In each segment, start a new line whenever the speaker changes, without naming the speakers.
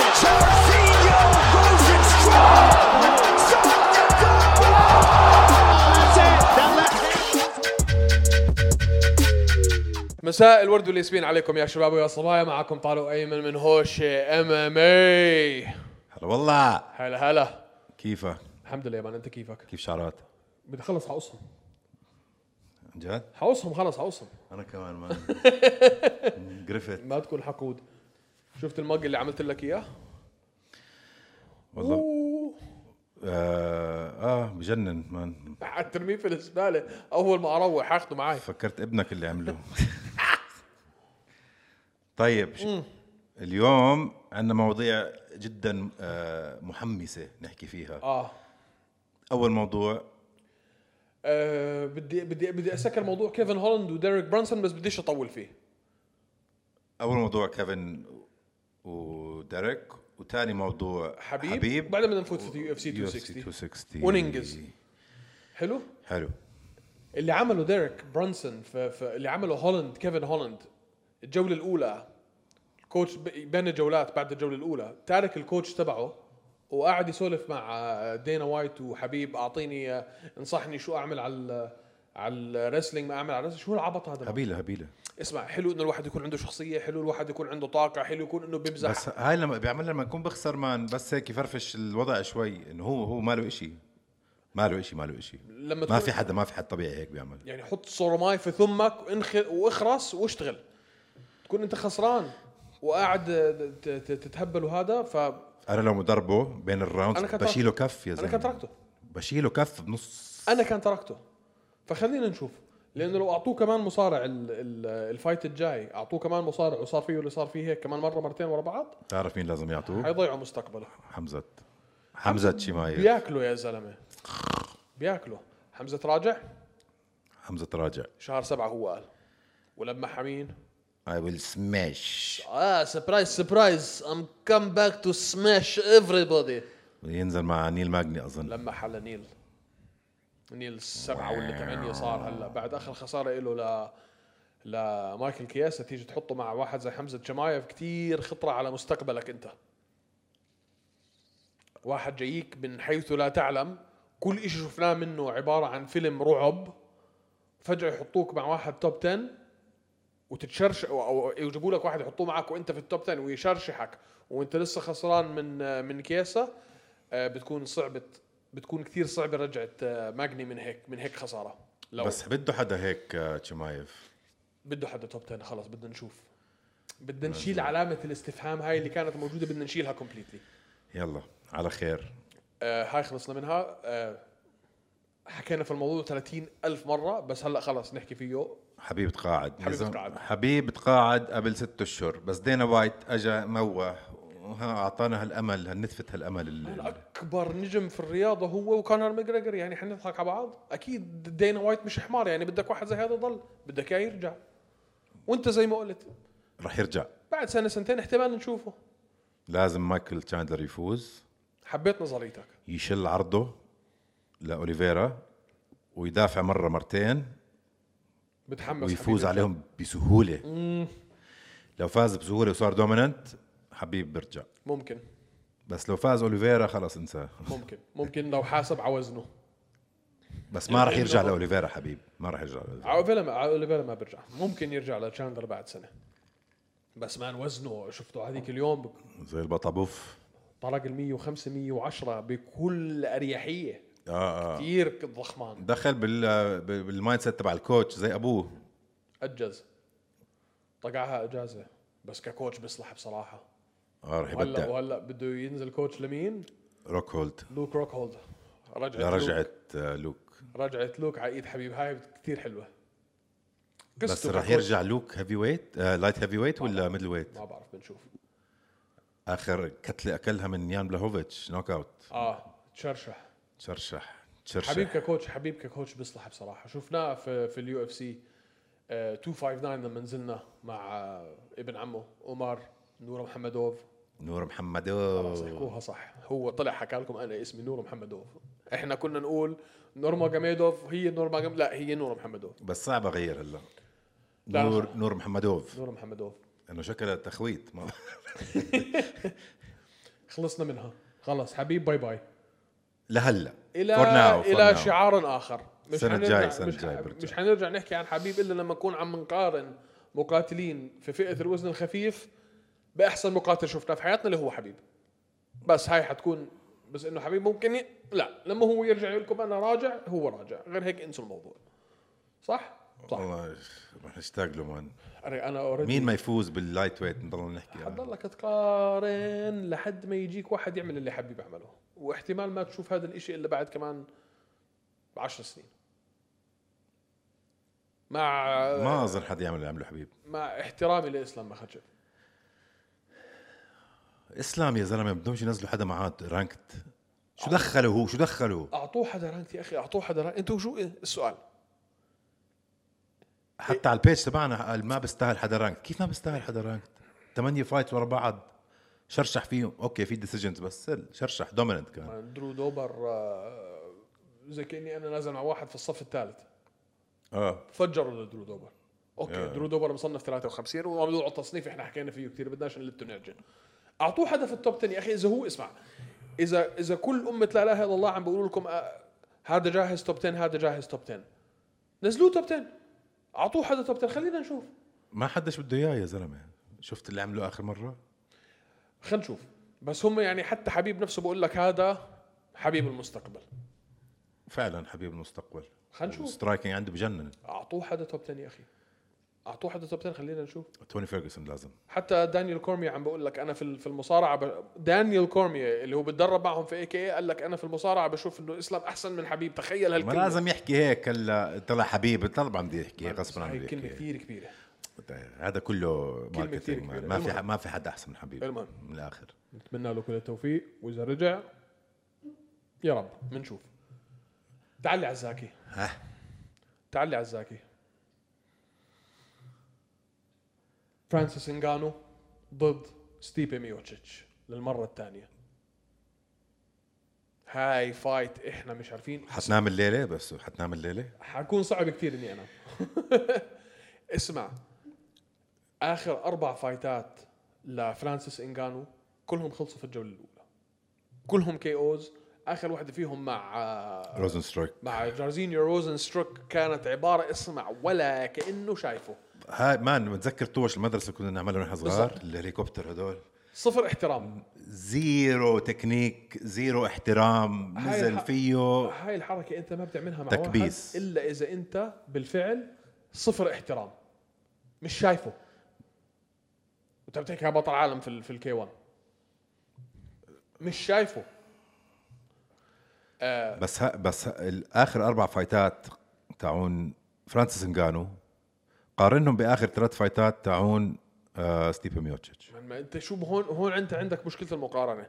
Jorginho goes in strong. Stop the goal.
مساء الورد والياسمين عليكم يا شباب ويا صبايا معكم طارق ايمن من هوش ام ام اي
هلا والله
هلا هلا
كيفك؟
الحمد لله يا مان انت كيفك
كيف شعرات؟
بدي خلص حقصهم
عن جد؟
حقصهم خلص حقصهم
انا كمان ما قرفت
ما تكون حقود شفت المج اللي عملت لك اياه
والله آه, اه بجنن مان
ترميه في الزباله اول ما اروح هاخده معي
فكرت ابنك اللي عمله طيب ش- اليوم عندنا مواضيع جدا آه محمسه نحكي فيها
اه
اول موضوع
آه، بدي بدي بدي اسكر موضوع كيفن هولاند وديريك برانسون بس بديش اطول فيه
اول موضوع كيفن وديريك وثاني موضوع
حبيب,
حبيب
بعدين بدنا نفوت في اف سي
UFC
260
260
وننجز. حلو
حلو
اللي عمله ديريك برانسون في, في اللي عمله هولند كيفن هولند الجوله الاولى الكوتش ب- بين الجولات بعد الجوله الاولى تارك الكوتش تبعه وقاعد يسولف مع آه، دينا وايت وحبيب اعطيني آه، انصحني شو اعمل على ال- على الريسلينج ما اعمل على الريسلينج شو العبط هذا
هبيله هبيله
اسمع حلو انه الواحد يكون عنده شخصيه حلو الواحد يكون عنده طاقه حلو يكون انه بيمزح
بس هاي لما بيعمل لما يكون بخسر مان بس هيك يفرفش الوضع شوي انه هو هو ماله إشي ماله إشي ماله إشي
لما
ما
تكون-
في حدا ما في حد طبيعي هيك بيعمل
يعني حط صورماي في ثمك وانخ... واخرس واشتغل تكون انت خسران وقاعد ت- ت- تتهبل وهذا ف
انا لو مدربه بين الراوندز
أنا كان تركته.
بشيله كف يا
انا
زلمه
كان تركته
بشيله كف بنص
انا كان تركته فخلينا نشوف لانه لو اعطوه كمان مصارع ال... ال... الفايت الجاي اعطوه كمان مصارع وصار فيه اللي صار فيه هيك كمان مره مرتين ورا بعض
تعرف مين لازم يعطوه؟
حيضيعوا مستقبله
حمزه حمزه شمايل
بياكله يا زلمه بياكله حمزه راجع
حمزه راجع
شهر سبعة هو قال ولما حمين
I will smash
اه سبرايز سبرايز ام كم باك تو سماش everybody
ينزل مع نيل ماجني اظن
لما حل نيل نيل سبعة ولا ثمانية صار هلا بعد اخر خسارة له ل لمايكل كياسة تيجي تحطه مع واحد زي حمزة جمايف كتير خطرة على مستقبلك انت واحد جاييك من حيث لا تعلم كل اشي شفناه منه عبارة عن فيلم رعب فجأة يحطوك مع واحد توب 10 وتتشرش او أو يجيبوا لك واحد يحطوه معك وانت في التوب 10 ويشرشحك وانت لسه خسران من آه، من كياسة آه، بتكون صعبة بتكون كثير صعبة رجعة آه، ماجني من هيك من هيك خسارة لو بس
بس بده حدا هيك آه، شمايف
بده حدا توب 10 خلص بدنا نشوف بدنا نشيل علامة الاستفهام هاي اللي كانت موجودة بدنا نشيلها كومبليتلي
يلا على خير
آه هاي خلصنا منها آه حكينا في الموضوع 30 ألف مرة بس هلا خلص نحكي فيه
حبيب تقاعد
حبيب
نظام-
تقاعد.
حبيب تقاعد قبل ست اشهر بس دينا وايت اجا موح وها اعطانا هالامل هالنتفه هالامل اللي
اكبر نجم في الرياضه هو وكونر ماجريجر يعني حنضحك على بعض اكيد دينا وايت مش حمار يعني بدك واحد زي هذا ضل بدك اياه يرجع وانت زي ما قلت
رح يرجع
بعد سنه سنتين احتمال نشوفه
لازم مايكل تشاندلر يفوز
حبيت نظريتك
يشل عرضه لاوليفيرا ويدافع مره مرتين
بتحمس
ويفوز
حبيبي.
عليهم بسهوله لو فاز بسهوله وصار دوميننت حبيب بيرجع
ممكن
بس لو فاز اوليفيرا خلص انساه
ممكن ممكن لو حاسب على وزنه
بس ما رح يرجع لاوليفيرا حبيب ما رح يرجع لأوليفيرا.
على اوليفيرا ما على أوليفيرا ما برجع ممكن يرجع لتشاندلر بعد سنه بس مان وزنه شفته هذيك اليوم
زي البطابوف
طرق ال 105 110 بكل اريحيه
اه اه
كثير ضخمان
دخل بال بالمايند سيت تبع الكوتش زي ابوه
اجز طقعها اجازه بس ككوتش بيصلح بصراحه
اه رح
وهلا
يبدع
وهلا بده ينزل كوتش لمين؟
روك هولد
لوك روك هولد رجعت
لا
لوك-
رجعت آه، لوك
رجعت لوك على ايد حبيب هاي كثير حلوه
بس
قصته
رح
ككوتش-
يرجع لوك هيفي ويت آه، لايت هيفي ويت ولا ميدل ويت
ما بعرف بنشوف
اخر كتله اكلها من يان بلاهوفيتش نوك اوت
اه تشرشح
تشرشح تشرشح
حبيب ككوتش حبيب ككوتش بيصلح بصراحه شفناه في في اليو اف سي آه، 259 لما نزلنا مع آه، ابن عمه عمر نور محمدوف
نور محمد
خلاص احكوها صح هو طلع حكى لكم انا اسمي نور محمدوف احنا كنا نقول نورما جاميدوف هي نورما جم... لا هي نور محمدوف
بس صعب اغير هلا
لا.
نور نور محمدوف
نور محمدوف
انه شكلها تخويت ما
خلصنا منها خلص حبيب باي باي
لهلا
الى
For now, for
الى
now.
شعار اخر مش
السنة
حنرجع-
الجاي- السنة
مش,
الجاي
ح-
برجع.
مش حنرجع نحكي عن حبيب الا لما نكون عم نقارن مقاتلين في فئه الوزن الخفيف باحسن مقاتل شفناه في حياتنا اللي هو حبيب بس هاي حتكون بس انه حبيب ممكن ي... لا لما هو يرجع يقول لكم انا راجع هو راجع غير هيك انسوا الموضوع صح؟ صح
والله رح نشتاق له مان
انا انا already-
مين ما يفوز باللايت ويت نضل نحكي عنه.
حتضلك تقارن لحد ما يجيك واحد يعمل اللي حبيب يعمله واحتمال ما تشوف هذا الاشي الا بعد كمان عشر سنين مع
ما اظن حد يعمل اللي عمله حبيب
مع احترامي لاسلام مخاتشف
اسلام يا زلمه بدهمش ينزلوا حدا معاه رانكت
آه.
شو دخله هو شو دخله
اعطوه حدا رانك يا اخي اعطوه حدا رانك انتوا شو إيه السؤال آه.
حتى على البيج تبعنا قال ما بستاهل حدا رانكت كيف ما بستاهل حدا رانكت ثمانية فايت ورا بعض شرشح فيهم اوكي في ديسيجنز بس still شرشح دوميننت كان
درو دوبر آه، زي كاني انا نازل مع واحد في الصف الثالث
اه
فجروا لدرو دوبر اوكي
يا.
درو دوبر مصنف 53 وموضوع التصنيف احنا حكينا فيه كثير بدناش نلتو نعجن اعطوه حدا في التوب 10 يا اخي اذا هو اسمع اذا اذا كل امه لا اله الا الله عم بيقولوا لكم آه، هذا جاهز توب 10 هذا جاهز توب 10 نزلوه توب 10 اعطوه حدا توب 10 خلينا نشوف
ما حدش بده اياه يا زلمه شفت اللي عمله اخر مره
خلينا نشوف بس هم يعني حتى حبيب نفسه بقول لك هذا حبيب المستقبل
فعلا حبيب المستقبل
خلينا نشوف
سترايكنج عنده بجنن
اعطوه حدا توب 10 يا اخي اعطوه حدا توب 10 خلينا نشوف
توني فيرجسون لازم
حتى دانيال كورميا عم بقول لك انا في في المصارعه ب... دانيال كورميا اللي هو بتدرب معهم في اي كي قال لك انا في المصارعه بشوف انه اسلام احسن من حبيب تخيل
ما
هالكلمه
لازم يحكي هيك هلا طلع حبيب طبعا بده يحكي هيك غصبا عنه
هاي
بده يحكي
كلمه
هيك.
كثير كبيره
هذا كله
كتير
ماركتينج
كبيرة.
ما في
المهم.
ما في حدا احسن من حبيب
المهم.
من الاخر
نتمنى له كل التوفيق واذا رجع يا رب بنشوف تعال لي عزاكي
ها
تعال لي عزاكي فرانسيس انغانو ضد ستيبي ميوتشيتش للمره الثانيه هاي فايت احنا مش عارفين
حتنام الليله بس حتنام الليله
حكون صعب كثير اني انا اسمع اخر اربع فايتات لفرانسيس انغانو كلهم خلصوا في الجوله الاولى كلهم كي اوز اخر واحده فيهم مع آه.
روزنسترويك
مع جارزينيو روزنستروك كانت عباره اسمع ولا كانه شايفه
هاي مان بتذكر طوش المدرسه كنا نعملها ونحن صغار
بالضبط.
الهليكوبتر هدول
صفر احترام
زيرو تكنيك زيرو احترام
هاي
نزل
الح-
فيه
هاي الحركه انت ما بتعملها مع
تكبيس.
واحد الا اذا انت بالفعل صفر احترام مش شايفه انت بتحكي عن بطل عالم في ال في الكي 1 مش شايفه
بس ها بس ها اخر اربع فايتات تاعون فرانسيس انجانو قارنهم باخر ثلاث فايتات تاعون آه ستيبي ميوتشيتش
لما انت شو هون هون انت عندك مشكله المقارنه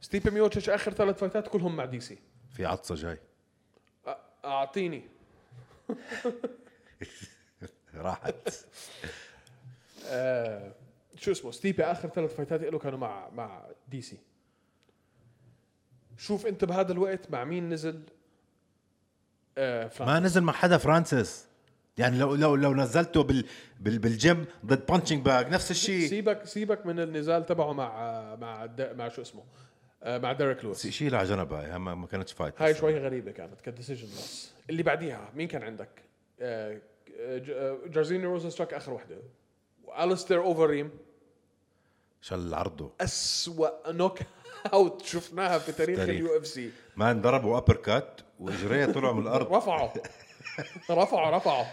ستيبي ميوتش اخر ثلاث فايتات كلهم مع دي سي
في عطسه جاي
أ- اعطيني
راحت
آه شو اسمه ستيبي اخر ثلاث فايتات له كانوا مع مع دي سي شوف انت بهذا الوقت مع مين نزل آه
ما
فرانسيس
نزل مع حدا فرانسيس يعني لو لو لو نزلته بال بال بالجيم ضد بانشنج باج نفس الشيء
سيبك سيبك من النزال تبعه مع مع د- مع شو اسمه آه مع ديريك لويس
شيء على جنب هاي ما ما كانتش فايت
هاي شوي غريبه كانت كديسيجن بس اللي بعديها مين كان عندك؟ آه آه، ج- آه، جارزيني روزنستوك اخر وحده والستير اوفريم
شل عرضه
اسوأ نوك اوت شفناها في تاريخ
تاريخ.
اليو اف سي
ما انضربوا ابر كات واجريه طلعوا من الارض
رفعه رفعه رفعه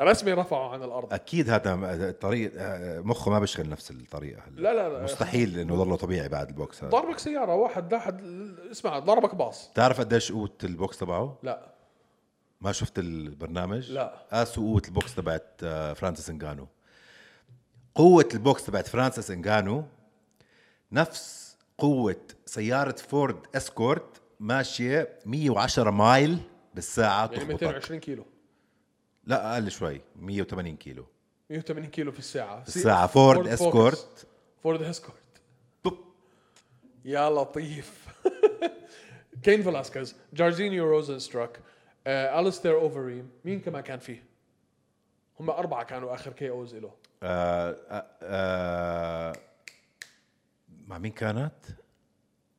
رسمي رفعه عن الارض
اكيد هذا م- طريق آه، مخه ما بيشتغل نفس الطريقه هلا
لا لا لا
مستحيل انه ضله طبيعي بعد البوكس هذا
ضربك سياره واحد لاحد اسمع ضربك باص
بتعرف قديش قوه البوكس تبعه؟
لا
ما شفت البرنامج؟
لا.
قاسوا قوه البوكس تبعت آه، فرانسيس انجانو قوه البوكس تبعت فرانسيس انجانو نفس قوه سياره فورد اسكورت ماشيه 110 مايل بالساعه
يعني
تخبطك
220 كيلو
لا اقل شوي 180 كيلو
180 كيلو في الساعه
الساعة. فورد
فورد
إسكورت.
فوكس. فورد اسكورت
بوب.
يا لطيف كين فلاسكيز جارجينيو روزنستروك آه، الستير اوفريم مين كمان كان فيه؟ هم اربعه كانوا اخر كي اوز له
آه آه آه مع مين كانت؟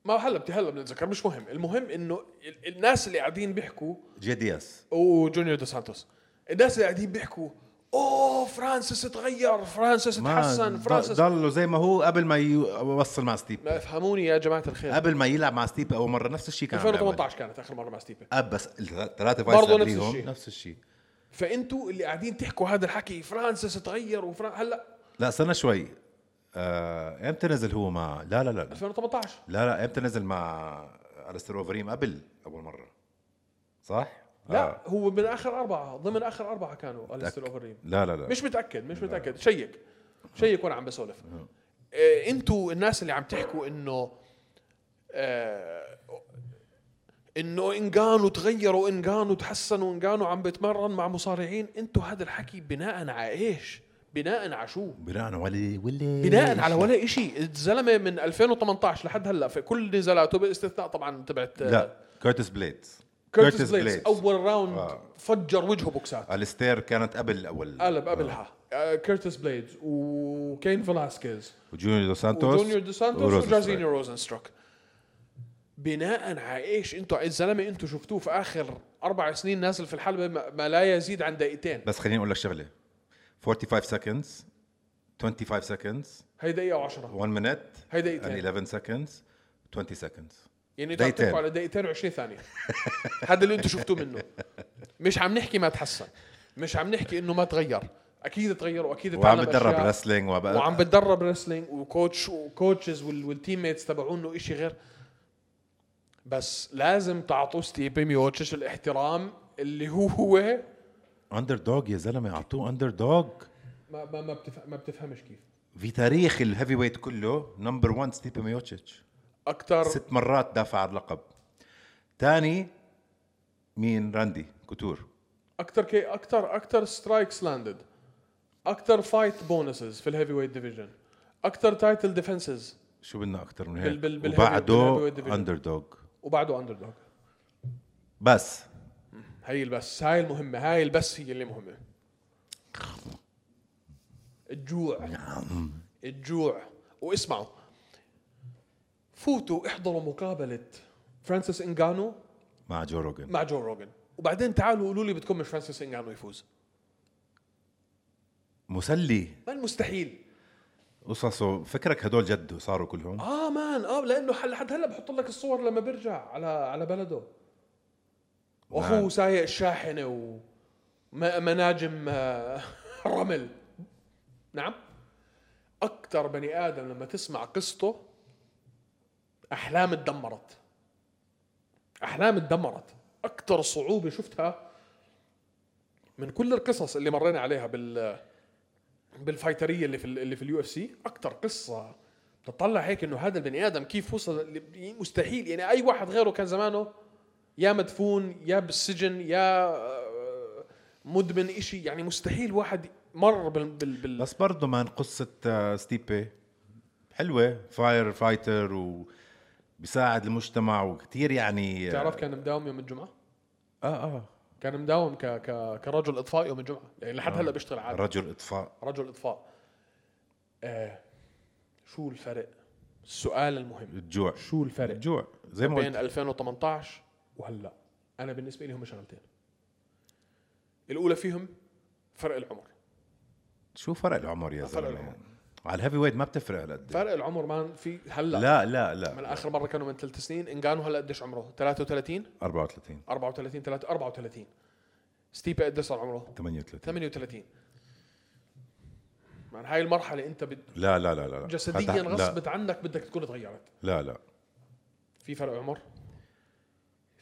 ما هلا بت- هلا بنتذكر مش مهم المهم انه ال- الناس اللي قاعدين بيحكوا
جي دي اس
وجونيور دو سانتوس الناس اللي قاعدين بيحكوا اوه فرانسيس تغير فرانسيس تحسن فرانسيس
ضله زي ما هو قبل ما يوصل مع ستيب
ما افهموني يا جماعه الخير
قبل ما يلعب مع ستيب اول مره نفس الشيء كان عم يعمل.
2018 كانت اخر مره مع ستيبن
اب بس الثلاثه
برضه نفس
فايز قبليهم
الشيء.
نفس الشيء
فانتوا اللي قاعدين تحكوا هذا الحكي فرانسيس تغير وفران هلا
لا استنى شوي آه، امتى نزل هو مع لا لا لا
2018
لا لا امتى نزل مع الستر اوفريم قبل اول مره صح؟ آه.
لا هو من اخر اربعه ضمن اخر اربعه كانوا الستر اوفرين
لا لا لا
مش متاكد مش متاكد شيك شيك وانا عم بسولف آه، انتوا الناس اللي عم تحكوا انه آه، انه انجانو تغيروا انجانو تحسنوا انجانو عم بتمرن مع مصارعين انتوا هذا الحكي بناء على ايش بناء على شو
بناء على ولا
بناء على ولا شيء الزلمه من 2018 لحد هلا في كل نزالاته باستثناء طبعا تبعت آه،
لا كورتس بليدز
كيرتس بليدز
اول
اول راوند
آه.
فجر وجهه بوكسات
الستير كانت قبل اول
قلب قبلها آه، كيرتس بليدز وكين فلاسكيز
آه. وجونيور دو سانتوس
وجونيور دو سانتوس
وروزنسترايك.
وجارزينيو روزنستروك بناء على ايش انتوا الزلمه انتوا شفتوه في اخر اربع سنين نازل في الحلبه ما ما لا يزيد عن دقيقتين
بس خليني اقول لك شغله 45 seconds 25 seconds
هي دقيقه و10
1 minute
هي
and
دقيقتين
11 seconds 20 seconds
يعني انتوا عم
دقيقتين.
تحكوا على دقيقتين و20 ثانيه هذا اللي انتوا شفتوه منه مش عم نحكي ما تحسن مش عم نحكي انه ما تغير اكيد تغير واكيد
وعم
تعلم
بتدرب
أشياء.
رسلينج وبقى
وعم بتدرب رسلينج وكوتش وكوتشز والتيم ميتس تبعونه شيء غير بس لازم تعطوا ستيبي ميوتش الاحترام اللي هو هو
اندر دوج يا زلمه اعطوه اندر دوج
ما ما ما, بتف... ما بتفهمش كيف
في تاريخ الهيفي ويت كله نمبر 1 ستيبي ميوتشيتش
اكثر
ست مرات دافع عن اللقب ثاني مين راندي كوتور
اكثر كي اكثر اكثر سترايكس لاندد اكثر فايت بونسز في الهيفي ويت ديفيجن اكثر تايتل ديفنسز
شو بدنا اكثر من
بال- بال-
هيك
بالهيفي-
وبعده
بالهيفي ويت division.
اندر دوج
وبعده اندر دوغ
بس
هاي البس هاي المهمه هاي البس هي اللي مهمه الجوع الجوع واسمعوا فوتوا احضروا مقابله فرانسيس انجانو
مع جو روجن
مع جو روجن وبعدين تعالوا قولوا لي بدكم مش فرانسيس انجانو يفوز
مسلي
ما المستحيل
قصصه فكرك هدول جد صاروا كلهم
اه مان اه لانه حل- لحد هلا بحط لك الصور لما بيرجع على على بلده واخوه
مان.
سايق الشاحنه ومناجم آه، رمل نعم اكثر بني ادم لما تسمع قصته احلام اتدمرت احلام اتدمرت اكثر صعوبه شفتها من كل القصص اللي مرينا عليها بال بالفايتريه اللي في ال- اللي في اليو اف سي اكثر قصه تطلع هيك انه هذا البني ادم كيف وصل ل- مستحيل يعني اي واحد غيره كان زمانه يا مدفون يا بالسجن يا آه، مدمن إشي يعني مستحيل واحد مر بال, بال, بال
بس برضه مان قصة آه، ستيبي حلوة فاير فايتر وبيساعد المجتمع وكتير يعني
تعرف كان مداوم يوم الجمعه
اه اه
كان مداوم ك ك كرجل اطفاء يوم الجمعه يعني لحد هلا بيشتغل عادي
رجل اطفاء
رجل اطفاء آه شو الفرق السؤال المهم
الجوع
شو الفرق
الجوع زي ما
بين
قلت
2018 وهلا انا بالنسبه لي هم شغلتين الاولى فيهم فرق العمر
شو فرق العمر يا
فرق
زلمة
العمر.
على الهيفي ويت ما بتفرق هالقد
فرق العمر مان في هلا
لا لا
من
لا
اخر مره كانوا من ثلاث سنين انجانو هلا قديش عمره 33
34
34 3 34 ستيبي قديش صار عمره
38
38 مان هاي المرحله انت بد...
لا لا لا لا لا
جسديا
هذا- لا
غصبت عنك بدك تكون تغيرت
لا لا
في فرق عمر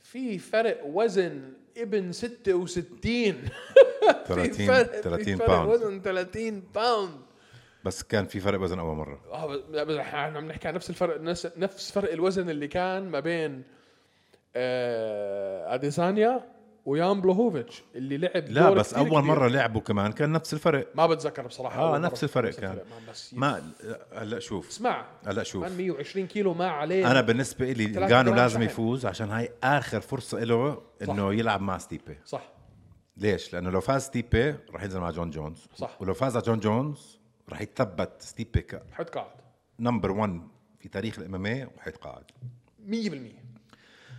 في فرق وزن ابن 66 في
30
فرق
30
في فرق
باوند
وزن 30 باوند
بس كان في فرق وزن اول مرة
اه بس- لا، بس احنا عم نحكي عن نفس الفرق نفس, نفس فرق الوزن اللي كان ما بين آه اديسانيا ويان بلوهوفيتش اللي لعب
لا
دور
بس
كتير
اول
كبير.
مرة لعبوا كمان كان نفس الفرق
ما بتذكر بصراحه
اه
أول مرة.
نفس الفرق كان
ما بس ما
ما هلا شوف
اسمع
هلا شوف
كان 120 كيلو ما عليه
انا بالنسبه لي
يعني ثلاثة
انجانو
جرام
لازم
شحم.
يفوز عشان هاي اخر فرصه له انه يلعب مع ستيبي
صح
ليش لانه لو فاز ستيبي راح ينزل مع جون جونز
صح.
ولو فاز على جون جونز راح يتثبت ستيبي
حتقاعد
نمبر 1 في تاريخ الام ام اي إيه وحيتقاعد
100%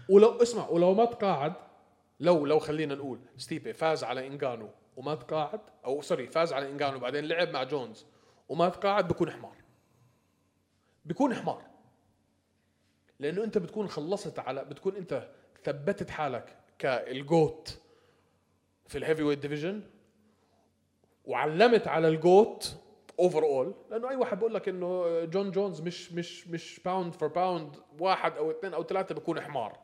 ولو اسمع ولو ما تقاعد لو لو خلينا نقول ستيبي فاز على انجانو وما تقاعد او سوري فاز على انجانو بعدين لعب مع جونز وما تقاعد بكون حمار بكون حمار لانه انت بتكون خلصت على بتكون انت ثبتت حالك كالجوت في الهيفي ويت ديفيجن وعلمت على الجوت اوفر اول لانه اي واحد بقول لك انه جون جونز مش مش مش باوند فور باوند واحد او اثنين او ثلاثه بيكون حمار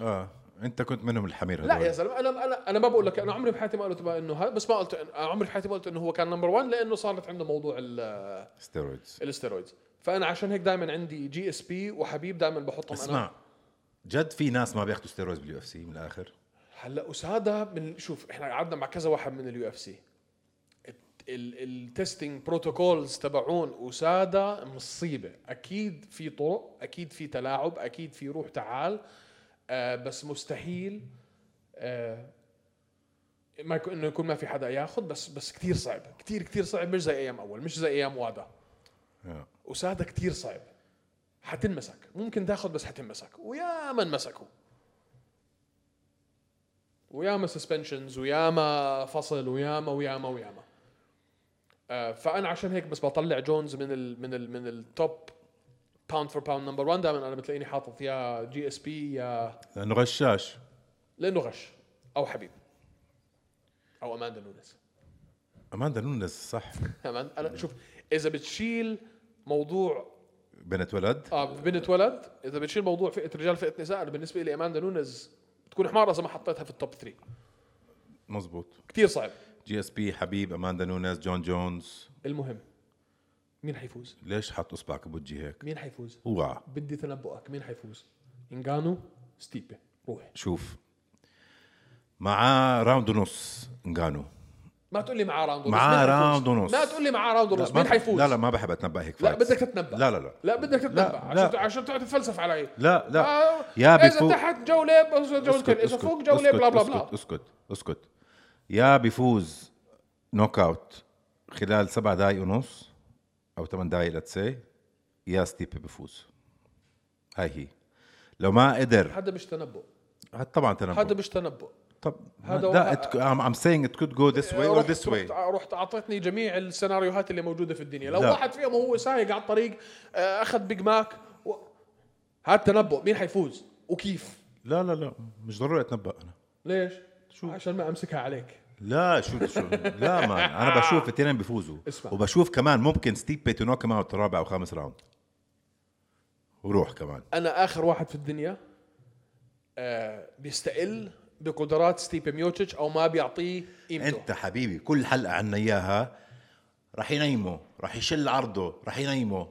اه انت كنت منهم الحمير
لا
هذول
يا زلمه انا انا انا ما بقول لك انا عمري بحياتي ما قلت بقى انه ها- بس ما قلت أنا عمري بحياتي ما قلت انه هو كان نمبر 1 لانه صارت عنده موضوع ال-
ستيرويدز
الاستيرويدز فانا عشان هيك دائما عندي جي اس بي وحبيب دائما بحطهم انا
اسمع جد في ناس ما بياخذوا ستيرويدز باليو اف سي من الاخر
هلا اساده من شوف احنا قعدنا مع كذا واحد من اليو اف سي التستنج بروتوكولز تبعون اساده مصيبه اكيد في طرق اكيد في تلاعب اكيد في روح تعال آه بس مستحيل آه ما يكون انه يكون ما في حدا ياخذ بس بس كثير صعب كثير كثير صعب مش زي ايام اول مش زي ايام وادا
آه.
وسادة كتير صعب حتنمسك ممكن تاخذ بس حتنمسك ويا ما انمسكوا وياما سسبنشنز وياما فصل وياما وياما وياما آه فانا عشان هيك بس بطلع جونز من ال من ال من التوب باوند فور باوند نمبر 1 دائما انا بتلاقيني حاطط يا جي اس بي يا
لانه غشاش
لانه غش او حبيب او اماندا نونس
اماندا نونز صح
أمان- انا شوف اذا بتشيل موضوع
بنت ولد
اه بنت ولد اذا بتشيل موضوع فئه رجال فئه نساء انا بالنسبه لي اماندا نونز بتكون حمار اذا ما حطيتها في التوب 3
مزبوط
كثير صعب
جي اس بي حبيب اماندا نونز جون جونز
المهم مين حيفوز؟
ليش حط اصبعك بوجهي هيك
مين حيفوز؟
اوعى
بدي تنبؤك مين حيفوز؟ انجانو ستيبي روح
شوف معاه راوند ونص انغانو
ما تقول لي معاه راوند ونص مين حيفوز؟
معاه راوند ونص.
ما تقول لي معاه راوند ونص
ما
مين
بح-
حيفوز؟
لا لا ما بحب اتنبأ هيك
لا
فايتس.
بدك تتنبأ
لا لا لا
لا بدك تتنبأ عشان
لا.
عشان تقعد تتفلسف علي
لا لا
آه، اذا
يا بيفوز
تحت جوله بس جولتين اذا فوق جوله بلا بلا بلا
اسكت اسكت اسكت يا بيفوز نوك اوت خلال سبع دقائق ونص او ثمان دقائق لتسي يا ستيبي بيفوز هاي هي لو ما قدر
هذا مش تنبؤ
طبعا تنبؤ
هذا مش تنبؤ
طب
هذا
لا
هو-
it could- I'm I'm saying it could go this way or
رحت
this
رحت,
way
رحت اعطيتني جميع السيناريوهات اللي موجوده في الدنيا لو
لا.
واحد فيهم وهو سايق على الطريق آه، اخذ بيج ماك و... هذا تنبؤ مين حيفوز وكيف
لا لا لا مش ضروري اتنبأ انا
ليش شو عشان ما امسكها عليك
لا شو شو لا مان انا بشوف الاثنين بيفوزوا
اسمع.
وبشوف كمان ممكن ستيبي تو نوك اوت رابع او خامس راوند وروح كمان
انا اخر واحد في الدنيا آه بيستقل بقدرات ستيبي ميوتش او ما بيعطيه قيمته
انت حبيبي كل حلقه عنا اياها رح ينيمه رح يشل عرضه رح ينيمه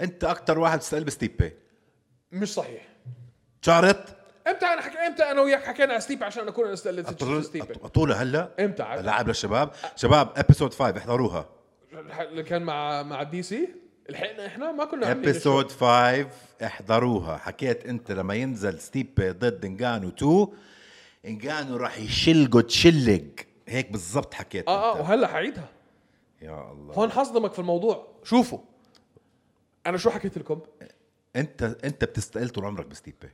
انت اكتر واحد بتستقل بستيبي
مش صحيح
شعرت
امتى انا حكي امتى انا وياك حكينا على ستيبي عشان اكون انا استقلت في ستيبي
اطولها هلا
امتى عاد؟
لعب للشباب شباب ابيسود 5 احضروها
الح- اللي كان مع مع دي سي لحقنا احنا ما كنا عاملين الشغل.
ابيسود 5 احضروها حكيت انت لما ينزل ستيبي ضد انجانو 2 انجانو راح يشلقه تشلق هيك بالضبط حكيت
اه اه
انت.
وهلا حعيدها
يا الله
هون حصدمك في الموضوع شوفوا انا شو حكيت لكم
انت انت بتستقل طول عمرك بستيبي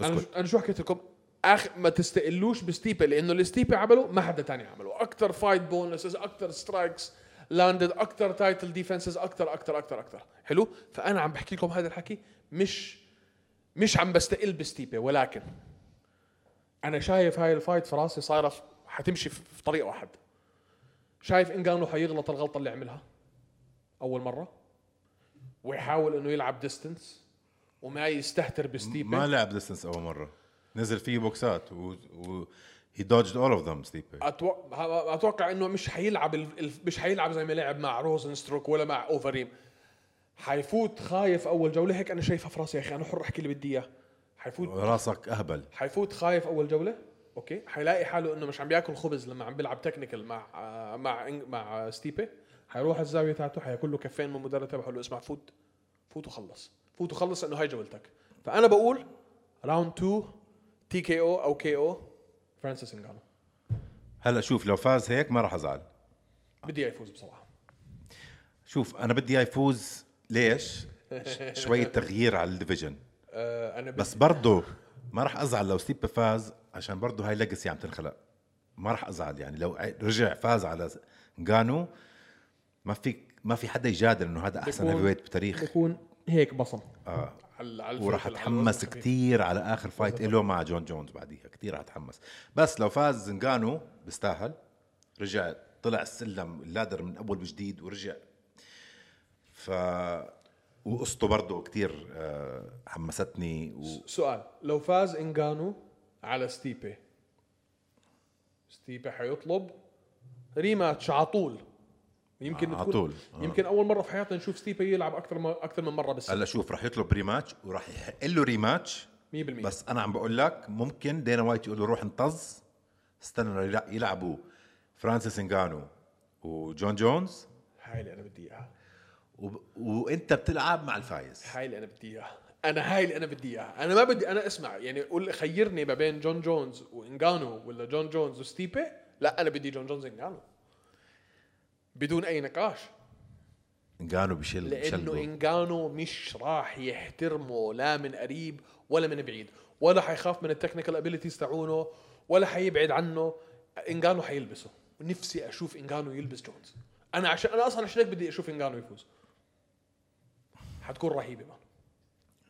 انا
اسكت
انا شو حكيت لكم اخ ما تستقلوش بستيبي لانه اللي ستيبي عمله ما حدا تاني عمله اكثر فايت بونسز اكثر سترايكس لاندد اكثر تايتل ديفنسز اكثر اكثر اكثر اكثر حلو فانا عم بحكي لكم هذا الحكي مش مش عم بستقل بستيبي ولكن انا شايف هاي الفايت في راسي صايره في- حتمشي في في طريق واحد شايف انجانو حيغلط الغلطه اللي عملها اول مره ويحاول انه يلعب ديستنس وما يستهتر بستيبي
ما لعب ديستنس اول مره نزل فيه بوكسات و, و... he dodged all of them ستيبي
اتوقع اتوقع انه مش حيلعب ال- ال- مش حيلعب زي ما لعب مع روزنستروك ولا مع اوفريم حيفوت خايف اول جوله هيك انا شايفها في راسي يا اخي انا حر احكي اللي بدي اياه حيفوت
راسك اهبل
حيفوت خايف اول جوله اوكي حيلاقي حاله انه مش عم بياكل خبز لما عم بيلعب تكنيكال مع آه، مع إنج- مع آه، ستيبي حيروح الزاويه تاعته حياكل له كفين من المدرب تبعه يقول له اسمع فوت فوت وخلص فوت وخلص انه هاي جولتك فانا بقول راوند 2 تي كي او او كي او فرانسيس انجانو
هلا شوف لو فاز هيك ما راح ازعل
بدي اياه يفوز بصراحه
شوف انا بدي اياه يفوز ليش؟ ش- شويه تغيير على الديفيجن
آه انا بس
بس برضه ما راح ازعل لو ستيب فاز عشان برضه هاي ليجاسي عم تنخلق ما راح ازعل يعني لو ع- رجع فاز على جانو ما فيك ما في حدا يجادل انه هذا احسن
بكون-
هيفي ويت بتاريخ
بكون هيك بصم
اه
على على الفلفل،
وراح
على
اتحمس
الوزن الخفيف.
كتير على اخر فايت له مع جون جونز بعديها كتير راح اتحمس بس لو فاز زنغانو بيستاهل رجع طلع السلم اللادر من اول وجديد ورجع ف وقصته برضه كتير آه، حمستني و...
سؤال لو فاز انجانو على ستيبي ستيبي حيطلب ريماتش على طول يمكن
على
تكون-
طول، آه.
يمكن اول مره في حياتنا نشوف ستيبي يلعب اكثر ما اكثر من مره بس 100%
هلا شوف راح يطلب ريماتش وراح يحق له ريماتش بس انا عم بقول لك ممكن دينا وايت يقول له روح انطز استنى يلع- يلعبوا فرانسيس انغانو وجون جونز
هاي اللي انا بدي اياها
وب... وانت بتلعب مع الفايز
هاي اللي انا بدي اياها انا هاي اللي انا بدي اياها انا ما بدي انا اسمع يعني قول خيرني ما بين جون جونز وانجانو ولا جون جونز وستيبي لا انا بدي جون جونز انجانو بدون اي نقاش
انغانو بشل
لانه
بشلبه
انجانو مش راح يحترمه لا من قريب ولا من بعيد ولا حيخاف من التكنيكال ابيليتيز تاعونه ولا حيبعد عنه انجانو حيلبسه نفسي اشوف انجانو يلبس جونز انا عشان انا اصلا عشان هيك بدي اشوف انجانو يفوز حتكون رهيبه مان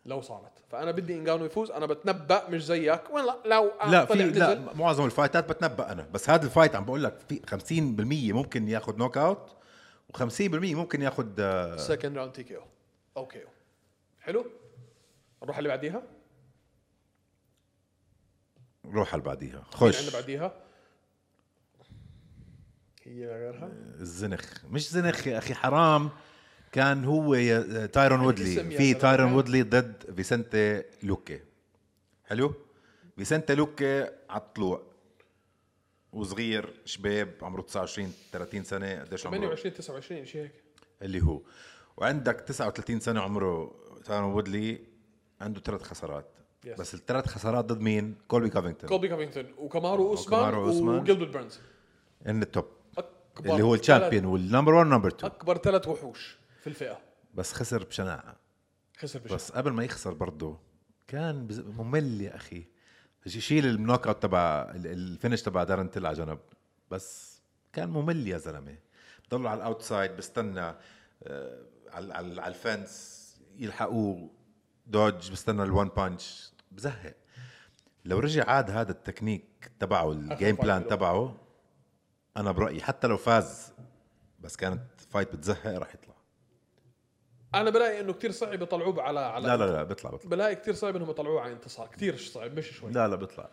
لو صارت فانا بدي انجانو يفوز انا بتنبأ مش زيك ولا لو
لا
آه، طلع
في
نزل.
لا معظم الفايتات بتنبأ انا بس هذا الفايت عم بقول لك في 50% ممكن ياخذ نوك اوت و50% ممكن آه، ياخذ
سكند راوند تي كي او او كي او حلو نروح اللي بعديها
روح على بعديها
مين عندنا
خش
بعديها هي غيرها
الزنخ مش زنخ يا اخي حرام كان هو يا- آه، تايرون
الاسم
وودلي
يا
في
زلمة.
تايرون وودلي ضد فيسنتي لوكي حلو فيسنتي لوكي على الطلوع وصغير شباب عمره 29 30 سنه قديش عمره
28 29 شيء هيك
اللي هو وعندك 39 سنه عمره تايرون وودلي عنده ثلاث خسارات
Yes.
yes. بس الثلاث خسارات ضد مين؟ كولبي كافينغتون
كولبي كافينغتون وكامارو اوسمان
وكامارو أوسمان.
وجيلبرت بيرنز
ان التوب
اكبر
اللي هو الشامبيون
ثلاث-
والنمبر 1 نمبر 2
اكبر ثلاث وحوش في الفئه
بس خسر بشناعه
خسر بشكل
بس قبل ما يخسر برضه كان بز- ممل يا اخي بس يشيل النوك اوت تبع ال- الفينش تبع دارنتل على جنب بس كان ممل يا زلمه بضل على الاوتسايد بستنى آه، على على على الفنس يلحقوه دوج بستنى الوان بانش بزهق لو رجع عاد هذا التكنيك تبعه الجيم
فايت
بلان
له.
تبعه انا برايي حتى لو فاز بس كانت فايت بتزهق راح يطلع
انا بلاقي انه كثير صعب يطلعوه على على
لا لا لا بيطلع بيطلع
بلاقي كثير صعب انهم يطلعوه على انتصار كثير صعب مش شوي
لا لا بيطلع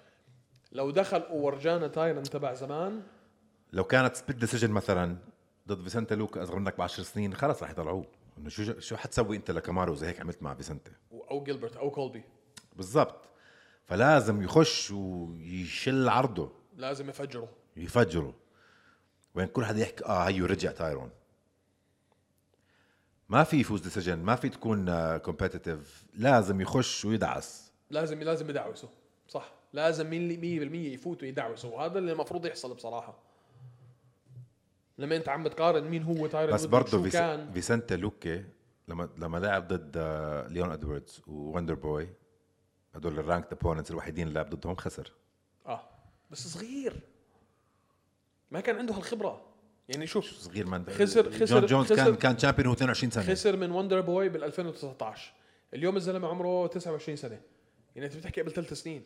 لو دخل وورجانا تايلاند تبع زمان
لو كانت سبيد ديسيجن مثلا ضد فيسنتا لوكا اصغر منك ب 10 سنين خلص رح يطلعوه انه شو شو حتسوي انت لكامارو زي هيك عملت مع فيسنتا
او جيلبرت او كولبي
بالضبط فلازم يخش ويشل عرضه
لازم يفجره
يفجره وين كل حدا يحكي اه هيو رجع تايرون ما في يفوز ديسيجن ما في تكون كومبetitive لازم يخش ويدعس
لازم لازم يدعوسه صح لازم مين اللي 100% يفوت ويدعوسه وهذا اللي المفروض يحصل بصراحه لما انت عم بتقارن مين هو تايرن
بس برضه
شو
فيس-
كان
فيسنتا لوكي لما لما لعب ضد آه، ليون ادواردز ووندر بوي هدول الرانك ابوننتس الوحيدين اللي لعب ضدهم خسر
اه بس صغير ما كان عنده هالخبره يعني شوف
صغير من
خسر- خسر-
جون جونز
خسر-
كان كان شامبيون هو 22 سنه خسر
خسر من وندر بوي بال 2019 اليوم الزلمه عمره 29 سنه يعني انت بتحكي قبل ثلاث سنين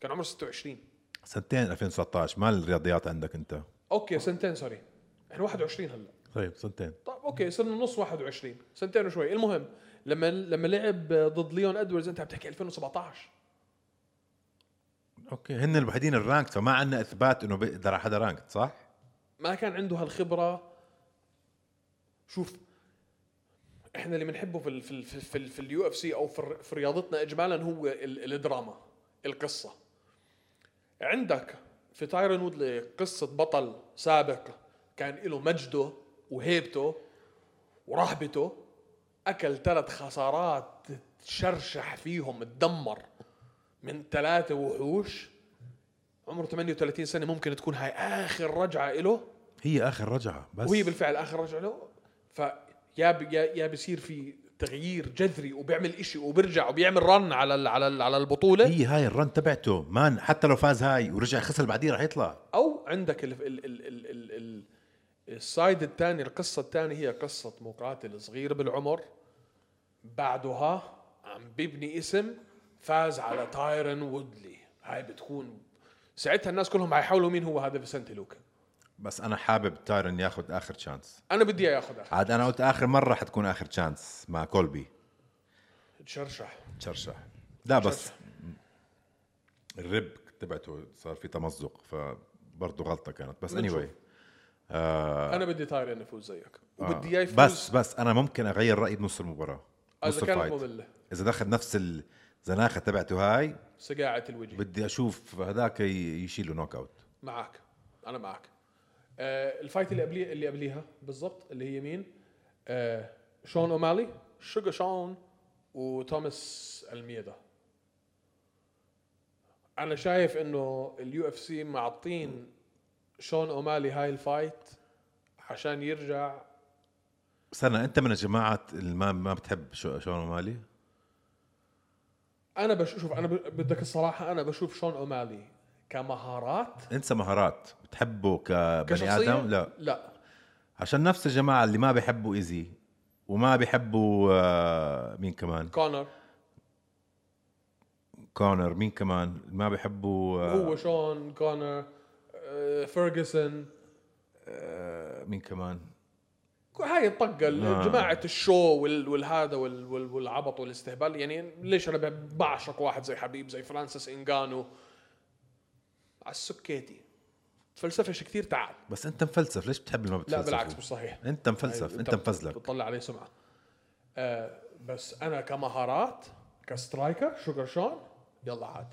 كان عمره 26
سنتين 2019 مال الرياضيات عندك انت
اوكي سنتين سوري احنا 21 هلا
طيب سنتين
طيب اوكي صرنا نص 21 سنتين وشوي المهم لما لما لعب ضد ليون ادواردز انت عم تحكي 2017
اوكي هن الوحيدين الرانك فما عندنا اثبات انه بيقدر حدا رانك صح؟
ما كان عنده هالخبره شوف احنا اللي بنحبه في ال في ال في, ال في اليو اف سي او في, الر- في رياضتنا اجمالا هو ال الدراما القصه عندك في تايرون وودلي قصه بطل سابق كان له مجده وهيبته ورهبته اكل ثلاث خسارات تشرشح فيهم تدمر من ثلاثه وحوش عمره 38 سنه ممكن تكون هاي اخر رجعه له
هي اخر رجعه بس
وهي بالفعل اخر رجعه له فيا ب- يا يا بصير في تغيير جذري وبيعمل إشي وبيرجع وبيعمل رن على ال على ال على البطوله
هي هاي الرن تبعته مان حتى لو فاز هاي ورجع خسر بعديه رح يطلع
او عندك ال ال ال ال ال ال السايد الثاني القصه الثانيه هي قصه مقاتل صغير بالعمر بعدها عم بيبني اسم فاز على تايرن وودلي هاي بتكون ساعتها الناس كلهم حيحاولوا مين هو هذا فيسنتي لوكا
بس انا حابب تايرن ياخذ اخر تشانس
انا بدي اياه ياخذها
عاد انا قلت اخر مره حتكون اخر تشانس مع كولبي آه.
تشرشح
تشرشح لا بس الرب تبعته صار في تمزق فبرضه غلطه كانت بس اني
بنشوف.
anyway.
انا بدي تايرن يفوز زيك وبدي اياه
آه.
يفوز
بس بس انا ممكن اغير رايي بنص المباراه نص
اذا كانت
الفايت.
ممله
اذا دخل نفس الزناخه تبعته هاي
سقاعه الوجه
بدي اشوف هذاك ي- يشيله نوك اوت
معك انا معك آه الفايت اللي قبليها اللي قبليها بالضبط اللي هي مين آه شون اومالي شوغا شون وتوماس الميدا انا شايف انه اليو اف سي معطين شون اومالي هاي الفايت عشان يرجع
استنى انت من الجماعه اللي ما ما بتحب شو- شون مالي
انا بشوف انا ب- بدك الصراحه انا بشوف شون اومالي كمهارات
انسى مهارات بتحبه كبني
كشخصيه
ادم لا
لا
عشان نفس الجماعه اللي ما بيحبوا ايزي وما بيحبوا آه، مين كمان
كونر
كونر مين كمان ما بيحبوا آه،
هو شون كونر آه، فيرجسون
آه، مين كمان
هاي الطقه ال-
نعم.
جماعه الشو وال- والهذا وال- وال- والعبط والاستهبال يعني ليش انا ب- بعشق واحد زي حبيب زي فرانسيس انجانو على السكيتي تفلسفش كثير تعال
بس انت مفلسف ليش بتحب اللي ما
لا
بتفلسف
بالعكس مش صحيح
انت مفلسف
يعني
انت مفزلك
بتطلع عليه سمعه آه بس انا كمهارات كسترايكر شوجر شون يلا عاد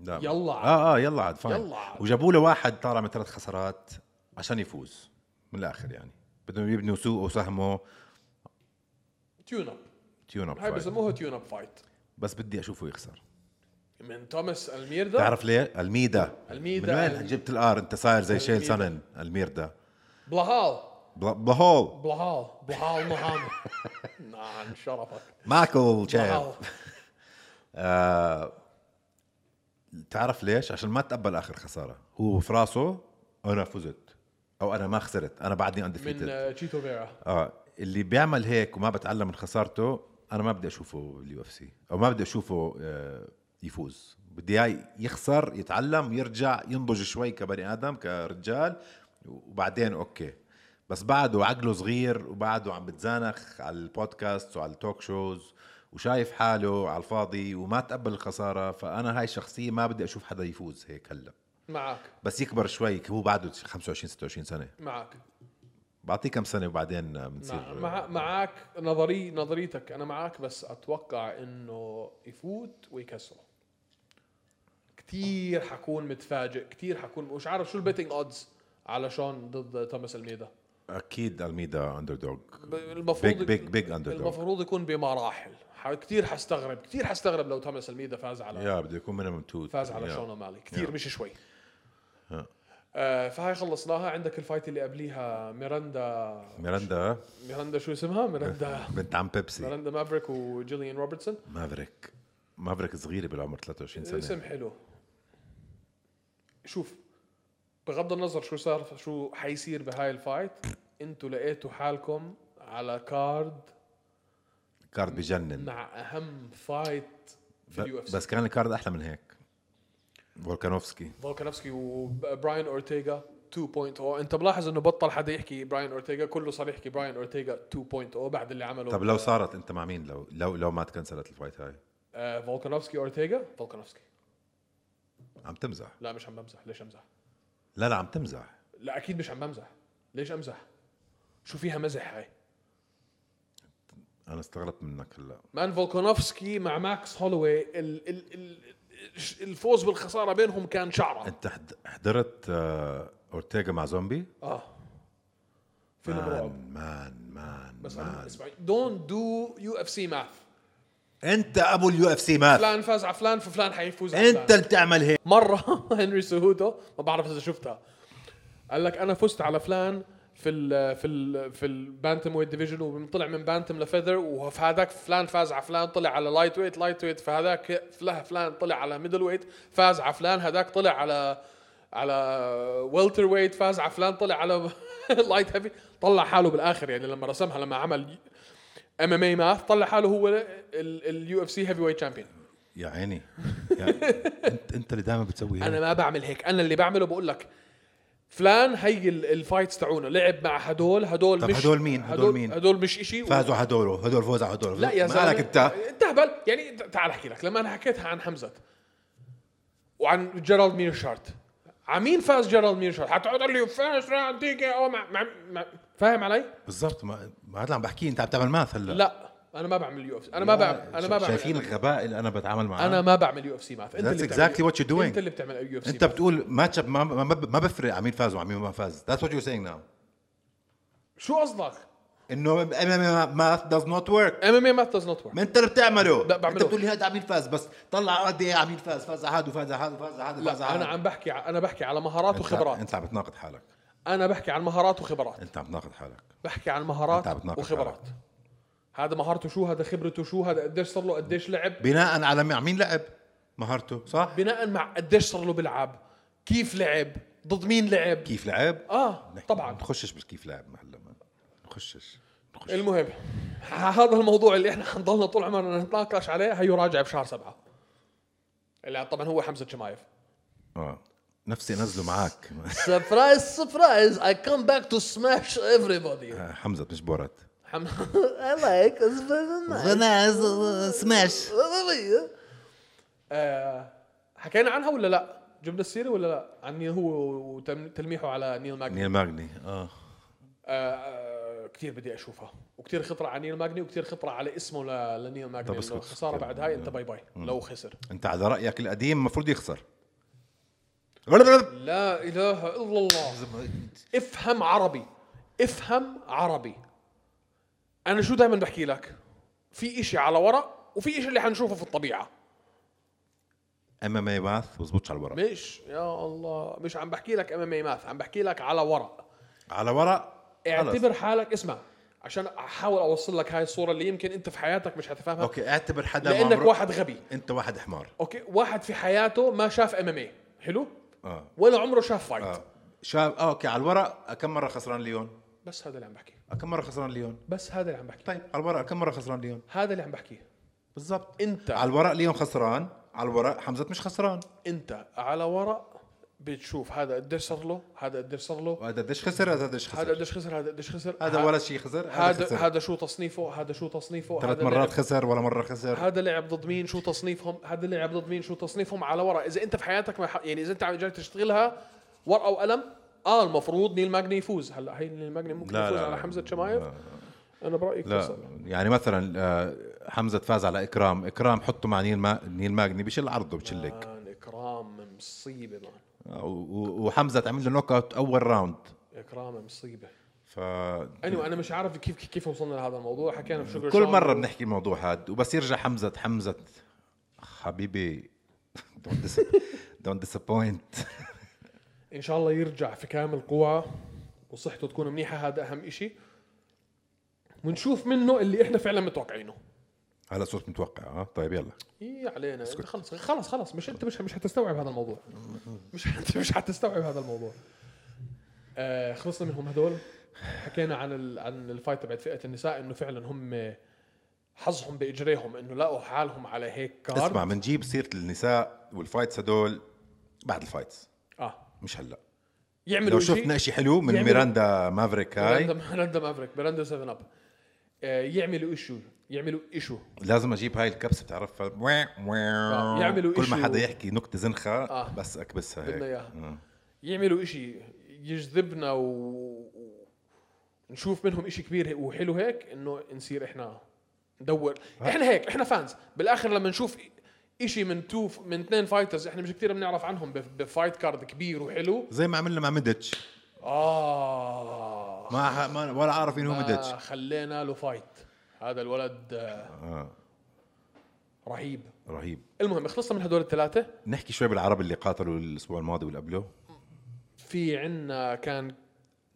لا.
يلا عاد.
اه اه يلا عاد فاين
يلا عاد.
وجابوا له واحد طالع من ثلاث خسارات عشان يفوز من الاخر يعني بدهم يبنوا سوقه وسهمه
تيون اب
تيون اب
هاي
فايت.
بسموها تيون اب فايت
بس بدي اشوفه يخسر
من توماس الميردا
تعرف ليه الميدا
الميدا.
من وين جبت الار انت صاير زي شيل
الميدا.
سنن الميردا
بلاهال
بلا- بلاهول
بلاهال بلاهال مهام نعم شرفك
ماكل شيل
بلاهال
تعرف ليش عشان ما تقبل اخر خساره هو في راسه انا فزت او انا ما خسرت انا بعدني
من
اندفيتد
آه، تشيتو فيرا
اه اللي بيعمل هيك وما بتعلم من خسارته انا ما بدي اشوفه اليو اف سي او ما بدي اشوفه آه، يفوز بدي اياه يخسر يتعلم يرجع ينضج شوي كبني ادم كرجال وبعدين اوكي بس بعده عقله صغير وبعده عم بتزانخ على البودكاست وعلى التوك شوز وشايف حاله على الفاضي وما تقبل الخساره فانا هاي الشخصيه ما بدي اشوف حدا يفوز هيك هلا
معك
بس يكبر شوي هو بعده 25 26 سنه
معك
بعطيه كم سنه وبعدين آه،
مع
بنصير
مع معك نظري نظريتك انا معك بس اتوقع انه يفوت ويكسره كثير حكون متفاجئ كثير حكون مش عارف شو البيتنج اودز على شون ضد توماس الميدا
اكيد الميدا اندر دوغ
ب- المفروض
Big- big- big underdog.
المفروض يكون بمراحل كثير حستغرب كثير حستغرب لو توماس الميدا فاز على
يا بده يكون مينيمم تو
فاز على شون اومالي كثير مش شوي آه فهاي خلصناها عندك الفايت اللي قبليها ميراندا
ميراندا
ميراندا شو اسمها ميراندا
بنت عم بيبسي
ميراندا مافريك وجيليان روبرتسون
مافريك مافريك صغيره بالعمر 23 سنه
اسم حلو شوف بغض النظر شو صار شو حيصير بهاي الفايت انتوا لقيتوا حالكم على كارد
كارد بجنن
مع اهم فايت نعم. في اليو اف
ب-
سي
بس كان الكارد احلى من هيك فولكانوفسكي
فولكانوفسكي وبراين اورتيغا 2.0 انت oh. ملاحظ انه بطل حدا يحكي براين اورتيغا كله صار يحكي براين اورتيغا 2.0 بعد اللي عمله
طب لو صارت انت مع مين لو لو لو ما تكنسلت الفايت هاي
آه فولكانوفسكي اورتيغا فولكانوفسكي
عم تمزح
لا مش عم بمزح ليش امزح
لا لا عم تمزح
لا اكيد مش عم بمزح ليش امزح شو فيها مزح هاي
انا استغربت منك هلا
مان فولكانوفسكي مع ماكس هولوي ال ال ال الفوز بالخساره بينهم كان شعره
انت حد- حضرت آه، اورتيغا مع زومبي
اه فيلم رعب
مان مان مان
بس
مان.
دونت دو يو اف سي ماث
انت ابو اليو اف سي مات
فلان فاز على فلان ففلان حيفوز على
انت
فلان.
اللي بتعمل هيك
مره هنري سهودو ما بعرف اذا شفتها قال لك انا فزت على فلان في ال في ال في البانتم ويت ديفيجن وطلع من بانتم لفيذر وفي هذاك فلان فاز على فلان طلع على لايت ويت لايت ويت فهذاك فله- فلان طلع على ميدل ويت فاز على فلان هذاك طلع على على ويلتر ويت فاز على فلان طلع على لايت هيفي طلع حاله بالاخر يعني لما رسمها لما عمل ام ام اي ماث طلع حاله هو اليو اف سي هيفي ويت شامبيون
يا عيني يا- انت انت اللي دائما بتسوي هيك
انا ما بعمل هيك انا اللي بعمله بقول لك فلان هي ال- الفايتس تاعونه لعب مع هدول هدول
طب
مش
هدول مين؟ هدول مين؟
هدول مش اشي
فازوا هدول هدول فوز على هدول
لا يا زلمه
مالك انت
انت هبل يعني ت- تعال احكي لك لما انا حكيتها عن حمزه وعن جيرالد ميرشارت عمين فاز جيرالد ميرشارت حتقعد تقول لي فاز راوند تي كي او مع, مع, مع فاهم علي؟
بالضبط ما ما هذا اللي عم بحكيه انت عم تعمل ماث هلا
لا انا ما بعمل يو اف سي انا ما بعمل انا ما بعمل
شايفين الغباء اللي انا بتعامل معه
انا ما بعمل يو اف سي ماث انت
That's
اللي
exactly
بتعمل-
what you're doing.
انت اللي بتعمل يو اف سي
انت بتقول ماتش اب ما ما, ما بفرق عمين فاز وعمين ما فاز ذاتس وات يو سينج ناو
شو قصدك؟
انه ام ماث داز نوت ورك
ام ام اي ماث داز نوت ورك
ما انت اللي بتعمله
لا، بعمله.
انت بتقول لي هذا عمين فاز بس طلع قد ايه عمين فاز فاز على هذا وفاز على هذا وفاز على هذا وفاز
لا
على
انا
هذا.
عم بحكي ع- انا بحكي على مهارات
انت-
وخبرات
انت عم بتناقض حالك
انا بحكي عن مهارات وخبرات
انت عم تناقض حالك
بحكي عن
أنت عم
مهارات
تناقض
وخبرات هذا مهارته شو هذا خبرته شو هذا قديش صار له قديش لعب
بناء على مع مين لعب مهارته صح
بناء مع قديش صار له بيلعب كيف لعب ضد مين لعب
كيف لعب
اه
نحكي-
طبعا
نخشش بالكيف لعب ما هلا ما نخشش نخش.
المهم ه- هذا الموضوع اللي احنا حنضلنا طول عمرنا نتناقش عليه هيو راجع بشهر سبعة اللي طبعا هو حمزه شمايف
اه نفسي انزله معك
سربرايز سربرايز اي كم باك تو سماش everybody
حمزه مش بورت
I like it's very nice.
سماش
آه، حكينا عنها ولا لا؟ جبنا السيره ولا لا؟ عن هو وتلميحه على نيل ماجني
نيل ماجني اه
آه كثير بدي اشوفها وكثير خطره على نيل ماجني وكثير خطره على اسمه ل- لنيل ماجني
اسكت،
إنه خساره
اسكت.
بعد هاي انت باي باي لو خسر
انت على رايك القديم المفروض يخسر
لا اله الا الله افهم عربي افهم عربي انا شو دائما بحكي لك في اشي على ورق وفي اشي اللي حنشوفه في الطبيعه
اما ما يبعث بزبطش على الورق
مش يا الله مش عم بحكي لك ام ام ماث عم بحكي لك على ورق
على ورق خلص.
اعتبر حالك اسمع عشان احاول اوصل لك هاي الصوره اللي يمكن انت في حياتك مش حتفهمها
اوكي اعتبر حدا ما
لانك
عمره-
واحد غبي
انت واحد حمار
اوكي واحد في حياته ما شاف ام ام حلو
اه
ولا عمره شاف فايت
اه شاب آه، اوكي على الورق كم مره خسران ليون
بس هذا اللي عم بحكيه
كم مره خسران ليون
بس هذا اللي عم بحكيه
طيب على الورق كم مره خسران ليون
هذا اللي عم بحكيه
بالضبط
انت
على الورق ليون خسران على الورق حمزه مش خسران
انت على ورق بتشوف هذا قديش صار له هذا قديش صار له
هذا قديش خسر هذا قديش
هذا
خسر
قديش خسر هذا قديش خسر
هذا ولا شيء خسر هذا
هذا
خسر
هذا شو تصنيفه هذا شو تصنيفه
ثلاث
هذا
مرات
لعب-
خسر ولا مره خسر
هذا لعب ضد مين شو تصنيفهم هذا لعب ضد مين شو تصنيفهم على ورق اذا انت في حياتك ما ح- يعني اذا انت عم جاي تشتغلها ورقه وقلم اه المفروض نيل ماجني يفوز هلا هي نيل ماجني ممكن
لا،
يفوز
لا،
على
لا.
حمزه شمايف انا برايي
لا
خسر.
يعني مثلا آه، حمزه فاز على اكرام اكرام حطه مع نيل ما... نيل ماجني بشل عرضه بشلك
مان اكرام مصيبه يعني مان
آه، و- وحمزه تعمل له نوك اوت اول راوند
اكرام مصيبه
ف
anyway, انا مش عارف كيف كيف وصلنا لهذا الموضوع حكينا في شكر
كل مره بنحكي الموضوع هذا وبس يرجع حمزه حمزه حبيبي دونت ديسابوينت
ان شاء الله يرجع في كامل قواه وصحته تكون منيحه هذا اهم إشي ونشوف منه اللي احنا فعلا متوقعينه
هلا صرت متوقع اه طيب يلا
ايه علينا انت خلص خلص خلص مش انت مش مش حتستوعب هذا الموضوع مش انت مش حتستوعب هذا الموضوع آه خلصنا منهم هدول حكينا عن ال... عن الفايت تبعت فئه النساء انه فعلا هم حظهم باجريهم انه لقوا حالهم على هيك كارد
اسمع بنجيب سيره النساء والفايتس هدول بعد الفايتس
اه
مش هلا
يعملوا
لو
إشي-
شفنا شيء حلو من
يعملوا-
ميراندا مافريك
برندا
هاي
برندا مافريك برندا 7 اب آه، يعملوا ايشو يعملوا ايشو
لازم اجيب هاي الكبسه بتعرفها
يعملوا
كل ما
إشي
حدا
و-
يحكي نكته زنخه
آه.
بس اكبسها هيك
بدنا اياها
آه.
يعملوا إشي يجذبنا و... و- نشوف منهم إشي كبير هيك وحلو هيك انه نصير احنا ندور احنا هيك احنا فانز بالاخر لما نشوف إشي من تو من اثنين فايترز احنا مش كثير بنعرف عنهم بف- بفايت كارد كبير وحلو
زي ما عملنا مع ميديتش
اه
ما, ما ولا عارف مين هو ميديتش
آه، خلينا له فايت هذا الولد آه،
آه.
رهيب
رهيب
المهم خلصنا من هدول الثلاثه
نحكي شوي بالعرب اللي قاتلوا الاسبوع الماضي واللي قبله
في عنا كان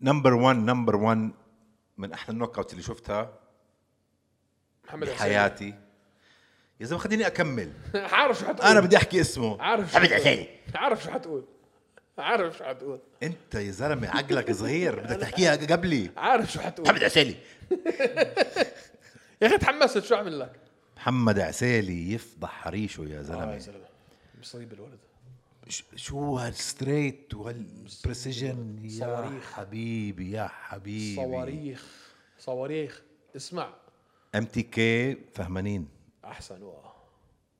نمبر 1 نمبر 1 من احلى النوك اوت اللي شفتها
محمد حسين.
بحياتي يا زلمه خليني اكمل
عارف شو حتقول
انا بدي احكي اسمه
عارف شو
حمد
حتقول.
حسين
عارف شو حتقول عارف شو حتقول
انت يا زلمه عقلك صغير بدك تحكيها قبلي
عارف شو حتقول
محمد عسيلي
يا اخي تحمست شو اعمل لك
محمد عسيلي يفضح حريشه يا زلمه
زلمه مصيبه الولد
ش- شو هالستريت وهالبريسيجن يا
صواريخ.
حبيبي يا حبيبي
صواريخ صواريخ اسمع
ام تي كي فهمانين
احسن وقع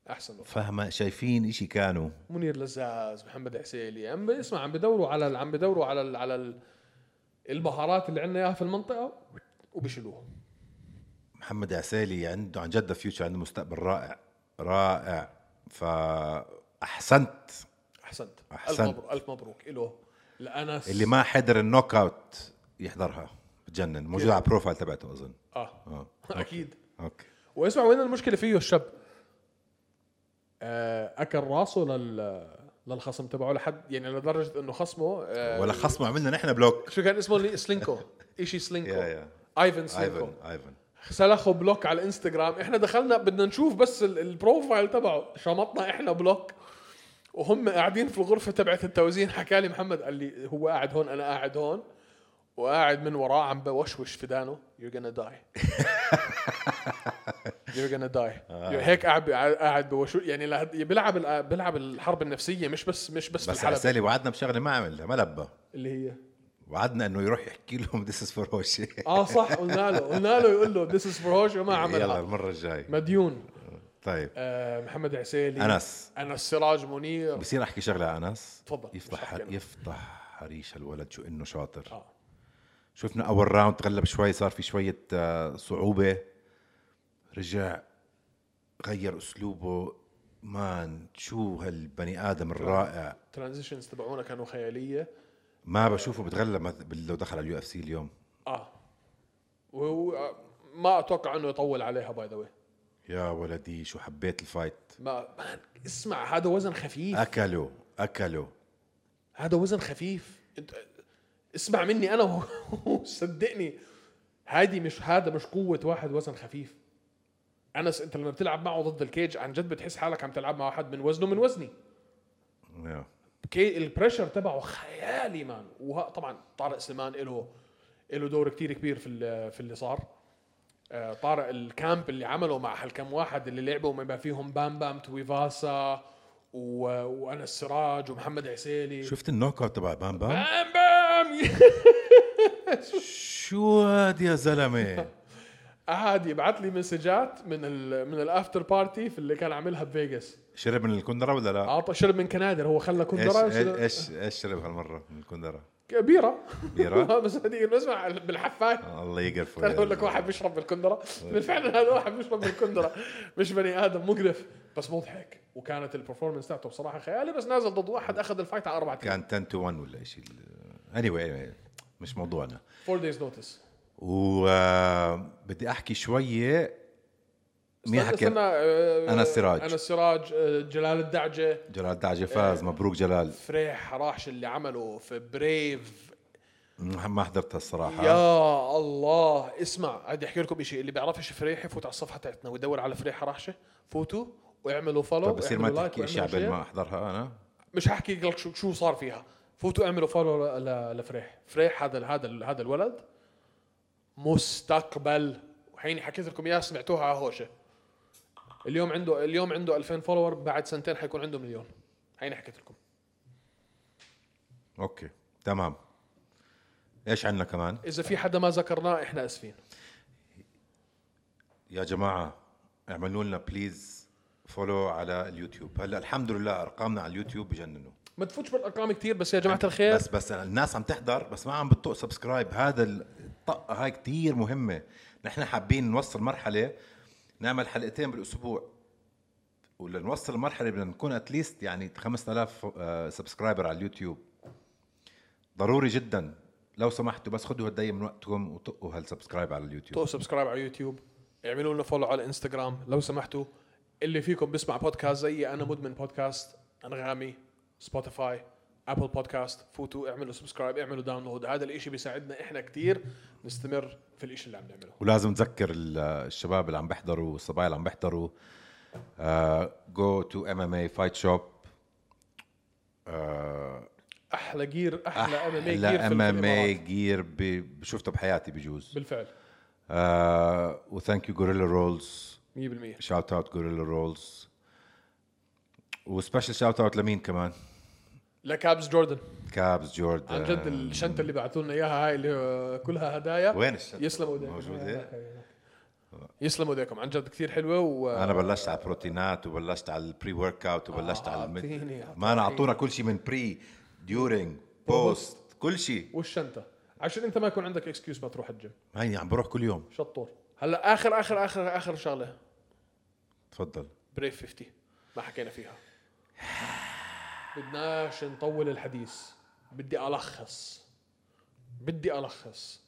احسن وقع
فهمة شايفين اشي كانوا
منير لزاز محمد عسيلي عم اسمع عم بدوروا على ال- عم بدوروا على ال- على ال- البهارات اللي عندنا اياها في المنطقه وبيشيلوها
محمد عسالي عنده عن جد فيوتشر عنده مستقبل رائع رائع فاحسنت
احسنت
أحسنت.
الف مبروك الف مبروك له لانس
اللي ما حضر النوك اوت يحضرها بتجنن موجود على البروفايل تبعته اظن
اه
اه
اكيد
اوكي
واسمع وين المشكله فيه الشاب آه، اكل راسه لل للخصم تبعه لحد يعني لدرجه انه خصمه آه،
ولا خصمه عملنا نحن بلوك
شو كان اسمه اللي- سلينكو شيء
يا
سلينكو
يا
ايفن سلينكو
ايفن ايفن
سلخوا بلوك على الانستغرام احنا دخلنا بدنا نشوف بس ال- البروفايل تبعه شمطنا احنا بلوك وهم قاعدين في الغرفه تبعت التوزيع حكى لي محمد قال لي هو قاعد هون انا قاعد هون وقاعد من وراه عم بوشوش في دانه you're gonna die you're gonna die آه. هيك قاعد قاعد بوشوش يعني لا- بيلعب ال- بيلعب الحرب النفسيه مش بس مش بس,
بس
في الحلبة
عسالي وعدنا بشغله ما عملها ما لبى
اللي هي
وعدنا انه يروح يحكي لهم ذيس از فور هوشي
اه صح قلنا له قلنا له يقول له this is for Hoshi وما
يلا
عملها
المره الجاي
مديون
طيب
آه محمد عسيلي
انس
انس سراج منير
بصير احكي شغله يا انس
تفضل. مش
يفضح
حكي أنا.
يفضح حريش الولد شو انه شاطر
آه.
شفنا اول راوند تغلب شوي صار في شويه آه، صعوبه رجع غير اسلوبه مان شو هالبني ادم الرائع
الترانزيشنز تبعونا كانوا خياليه
ما بشوفه بتغلب مث- بال- لو دخل على اليو اف سي اليوم
اه وهو آه، ما اتوقع انه يطول عليها باي ذا واي
يا ولدي شو حبيت الفايت
ما مان، اسمع هذا وزن خفيف
اكله اكله
هذا وزن خفيف انت اسمع مني انا وصدقني هادي مش هذا مش قوه واحد وزن خفيف انس انت لما بتلعب معه ضد الكيج عن جد بتحس حالك عم تلعب مع واحد من وزنه من وزني
يا.
كي البريشر تبعه خيالي مان وطبعا طارق سليمان له له دور كتير كبير في ال- في اللي صار آه، طارق الكامب اللي عمله مع هالكم واحد اللي لعبوا ما فيهم بام بام تويفاسا و... وانا السراج ومحمد عسيلي
شفت النوك اوت تبع بام بام
بام بام
شو هاد يا زلمه
قعد يبعث لي مسجات من ال... من الافتر بارتي في اللي كان عاملها بفيغاس
شرب من الكندره ولا لا
اعطى شرب من كنادر هو خلى
ايش
كندرة
ايش
يشرب-
ايش- ايش شرب هالمره من الكندره
بيره
بيرة؟
بس هذيك اسمع بالحفايه
الله يقرفه
انا
يا
اقول لك
زلمة.
واحد بيشرب بالكندره
طيب.
بالفعل هذا واحد بيشرب بالكندره مش بني ادم مقرف بس مضحك وكانت البرفورمنس تاعته بصراحه خيالي بس نازل ضد واحد اخذ الفايت على اربع ايام
كان 10 تو 1 ولا شيء اني واي مش موضوعنا
فور دايز نوتس
وبدي احكي شويه مين حكى أنا السراج.
انا السراج آه، جلال الدعجه
جلال دعجه فاز
إيه.
مبروك جلال
فريح حراش اللي عمله في بريف
ما حضرتها الصراحه
يا الله اسمع بدي احكي لكم شيء اللي بيعرفش فريح يفوت على الصفحه تاعتنا ويدور على فريح حراشه فوتوا واعملوا فولو
طب طيب بصير ما تحكي اشي عبال ما احضرها انا
مش هحكي لك شو شو صار فيها فوتوا اعملوا فولو ل- ل- لفريح فريح هذا ال- هذا ال- هذا الولد مستقبل وحين حكيت لكم اياها سمعتوها على هوشه اليوم عنده اليوم عنده 2000 فولور بعد سنتين حيكون عنده مليون حين حكيت لكم
اوكي تمام ايش عندنا كمان
اذا في حدا ما ذكرناه احنا اسفين
يا جماعه اعملوا لنا بليز فولو على اليوتيوب هلا الحمد لله ارقامنا على اليوتيوب بجننوا
ما تفوتش بالارقام كثير بس يا جماعه الخير
بس بس الناس عم تحضر بس ما عم بتطق سبسكرايب هذا الطقه هاي كتير مهمه نحن حابين نوصل مرحله نعمل حلقتين بالاسبوع ولنوصل المرحله بدنا نكون اتليست يعني 5000 آه، سبسكرايبر على اليوتيوب ضروري جدا لو سمحتوا بس خذوا هالدقيقه من وقتكم وطقوا هالسبسكرايب على اليوتيوب
طقوا سبسكرايب على اليوتيوب اعملوا لنا فولو على الانستغرام لو سمحتوا اللي فيكم بيسمع بودكاست زيي انا مدمن بودكاست انغامي سبوتيفاي ابل بودكاست فوتوا اعملوا سبسكرايب اعملوا داونلود هذا الاشي بيساعدنا احنا كتير نستمر في الاشي اللي عم نعمله
ولازم تذكر ال- الشباب اللي عم بيحضروا الصبايا اللي عم بيحضروا آه، جو تو ام ام اي فايت شوب آه،
احلى جير احلى ام ام اي جير
لا
في
ام ام اي
الإمارات.
جير ب- شفته بحياتي بجوز
بالفعل
آه، وثانك يو غوريلا رولز
100%
شاوت اوت غوريلا رولز وسبيشال شاوت اوت لمين كمان
لكابز جوردن
كابز
عن
جوردن
جد الشنطه اللي بعثوا لنا اياها هاي اللي كلها هدايا
وين الشنطة؟
يسلموا ايديكم
موجودة؟
يسلموا ايديكم عن جد كثير حلوه و
انا بلشت على البروتينات وبلشت على البري ورك اوت وبلشت
آه،
على
أعطيني،
الم...
أعطيني.
ما انا اعطونا كل شيء من بري ديورينج بوست كل شيء
والشنطه عشان انت ما يكون عندك اكسكيوز ما تروح الجيم
هيني عم بروح كل يوم
شطور هلا اخر اخر اخر اخر شغله
تفضل
بريف 50 ما حكينا فيها بدناش نطول الحديث بدي الخص بدي الخص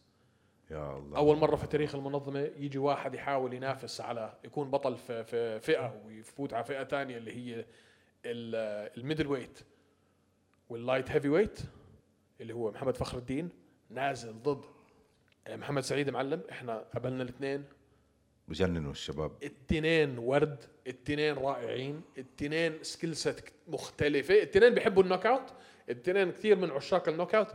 يا الله
اول مره في تاريخ المنظمه يجي واحد يحاول ينافس على يكون بطل في, في فئه ويفوت على فئه ثانيه اللي هي ال- الميدل ويت واللايت هيفي ويت اللي هو محمد فخر الدين نازل ضد محمد سعيد معلم احنا قبلنا الاثنين
بجننوا الشباب
التنين ورد التنين رائعين التنين سكيل سيت مختلفة التنين بيحبوا النوك اوت التنين كثير من عشاق النوك اوت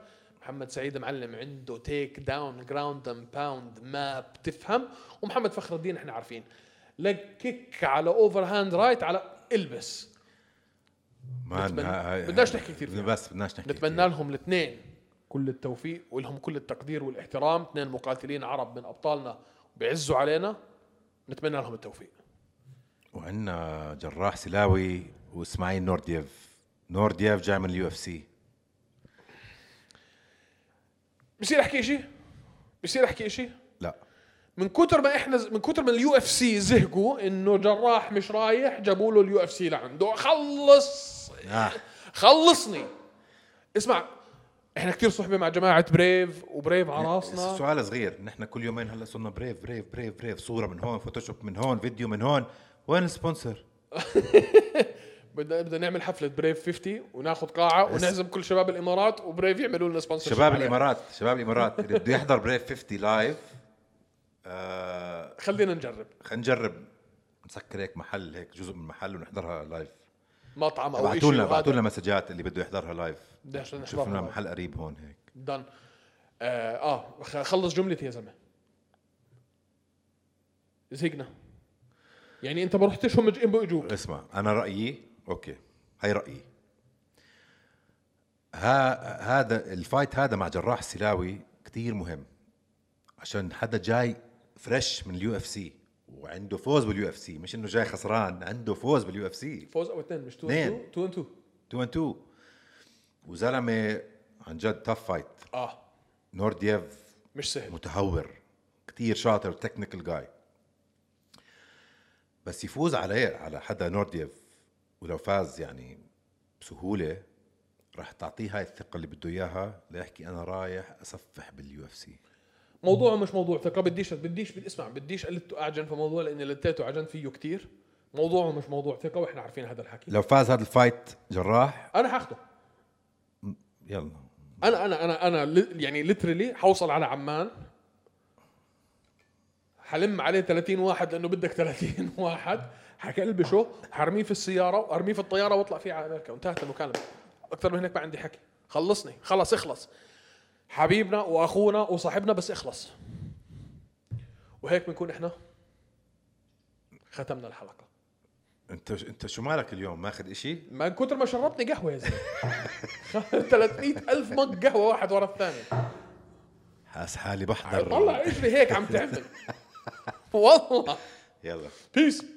محمد سعيد معلم عنده تيك داون جراوند اند باوند ما بتفهم ومحمد فخر الدين احنا عارفين لك كيك على اوفر هاند رايت على البس
ما
نتمنى-
ها- ها-
بدناش نحكي كتير فيها.
بس بدناش نحكي كتير.
نتمنى لهم الاثنين كل التوفيق ولهم كل التقدير والاحترام اثنين مقاتلين عرب من ابطالنا بيعزوا علينا نتمنى لهم التوفيق
وعندنا جراح سلاوي واسماعيل نوردييف نوردييف جاي من اليو اف سي
بصير احكي شيء بصير احكي شيء
لا
من كتر ما احنا من كتر ما اليو اف سي زهقوا انه جراح مش رايح جابوا له اليو اف سي لعنده خلص
آه.
خلصني اسمع احنا كثير صحبه مع جماعه بريف وبريف على راسنا
سؤال صغير نحن كل يومين هلا صرنا بريف بريف بريف بريف صوره من هون فوتوشوب من هون فيديو من هون وين السبونسر
بدنا بدنا نعمل حفله بريف 50 وناخذ قاعه ونعزم كل شباب الامارات وبريف يعملوا لنا سبونسر
شباب الامارات شباب الامارات اللي بده يحضر بريف 50 لايف آه
خلينا نجرب
خلينا نجرب نسكر هيك محل هيك جزء من محل ونحضرها لايف
مطعم او شيء
ابعتوا لنا ابعتوا لنا مسجات اللي بده يحضرها لايف
بدناش
شوف لنا
نحضرها
محل قريب هون هيك
دن اه, آه خ- خلص جملتي يا زلمه زهقنا يعني انت ما رحتش هم اجوا اجوك
اسمع انا رايي اوكي هاي رايي ها هذا الفايت هذا مع جراح سلاوي كتير مهم عشان حدا جاي فريش من اليو اف سي وعنده فوز باليو اف سي مش انه جاي خسران عنده فوز باليو اف سي
فوز او اثنين مش 2
اثنين.
2 2
2 and 2 وزلمه عن جد تف فايت
اه
نوردييف
مش سهل
متهور كتير شاطر تكنيكال جاي بس يفوز عليه على حدا نورديف ولو فاز يعني بسهوله راح تعطيه هاي الثقه اللي بده اياها ليحكي انا رايح اصفح باليو اف سي
موضوعه مش موضوع ثقه بديش بديش بدي اسمع بديش قلته اعجن في موضوع لاني لتيته عجنت فيه كتير موضوعه مش موضوع ثقه واحنا عارفين هذا الحكي
لو فاز هذا الفايت جراح
انا حاخده
يلا
انا انا انا انا ل- يعني ليترلي حوصل على عمان حلم عليه 30 واحد لانه بدك 30 واحد حكلبشه حرميه في السياره وارميه في الطياره واطلع فيه على امريكا وانتهت المكالمه اكثر من هيك ما عندي حكي خلصني خلص اخلص حبيبنا واخونا وصاحبنا بس اخلص وهيك بنكون احنا ختمنا الحلقه
انت انت شو مالك اليوم ماخذ اشي
ما كتر ما شربتني قهوه يا زلمه 300 الف مج قهوه واحد ورا الثاني
حاس حالي بحضر
طلع اجري هيك عم تعمل والله
يلا
بيس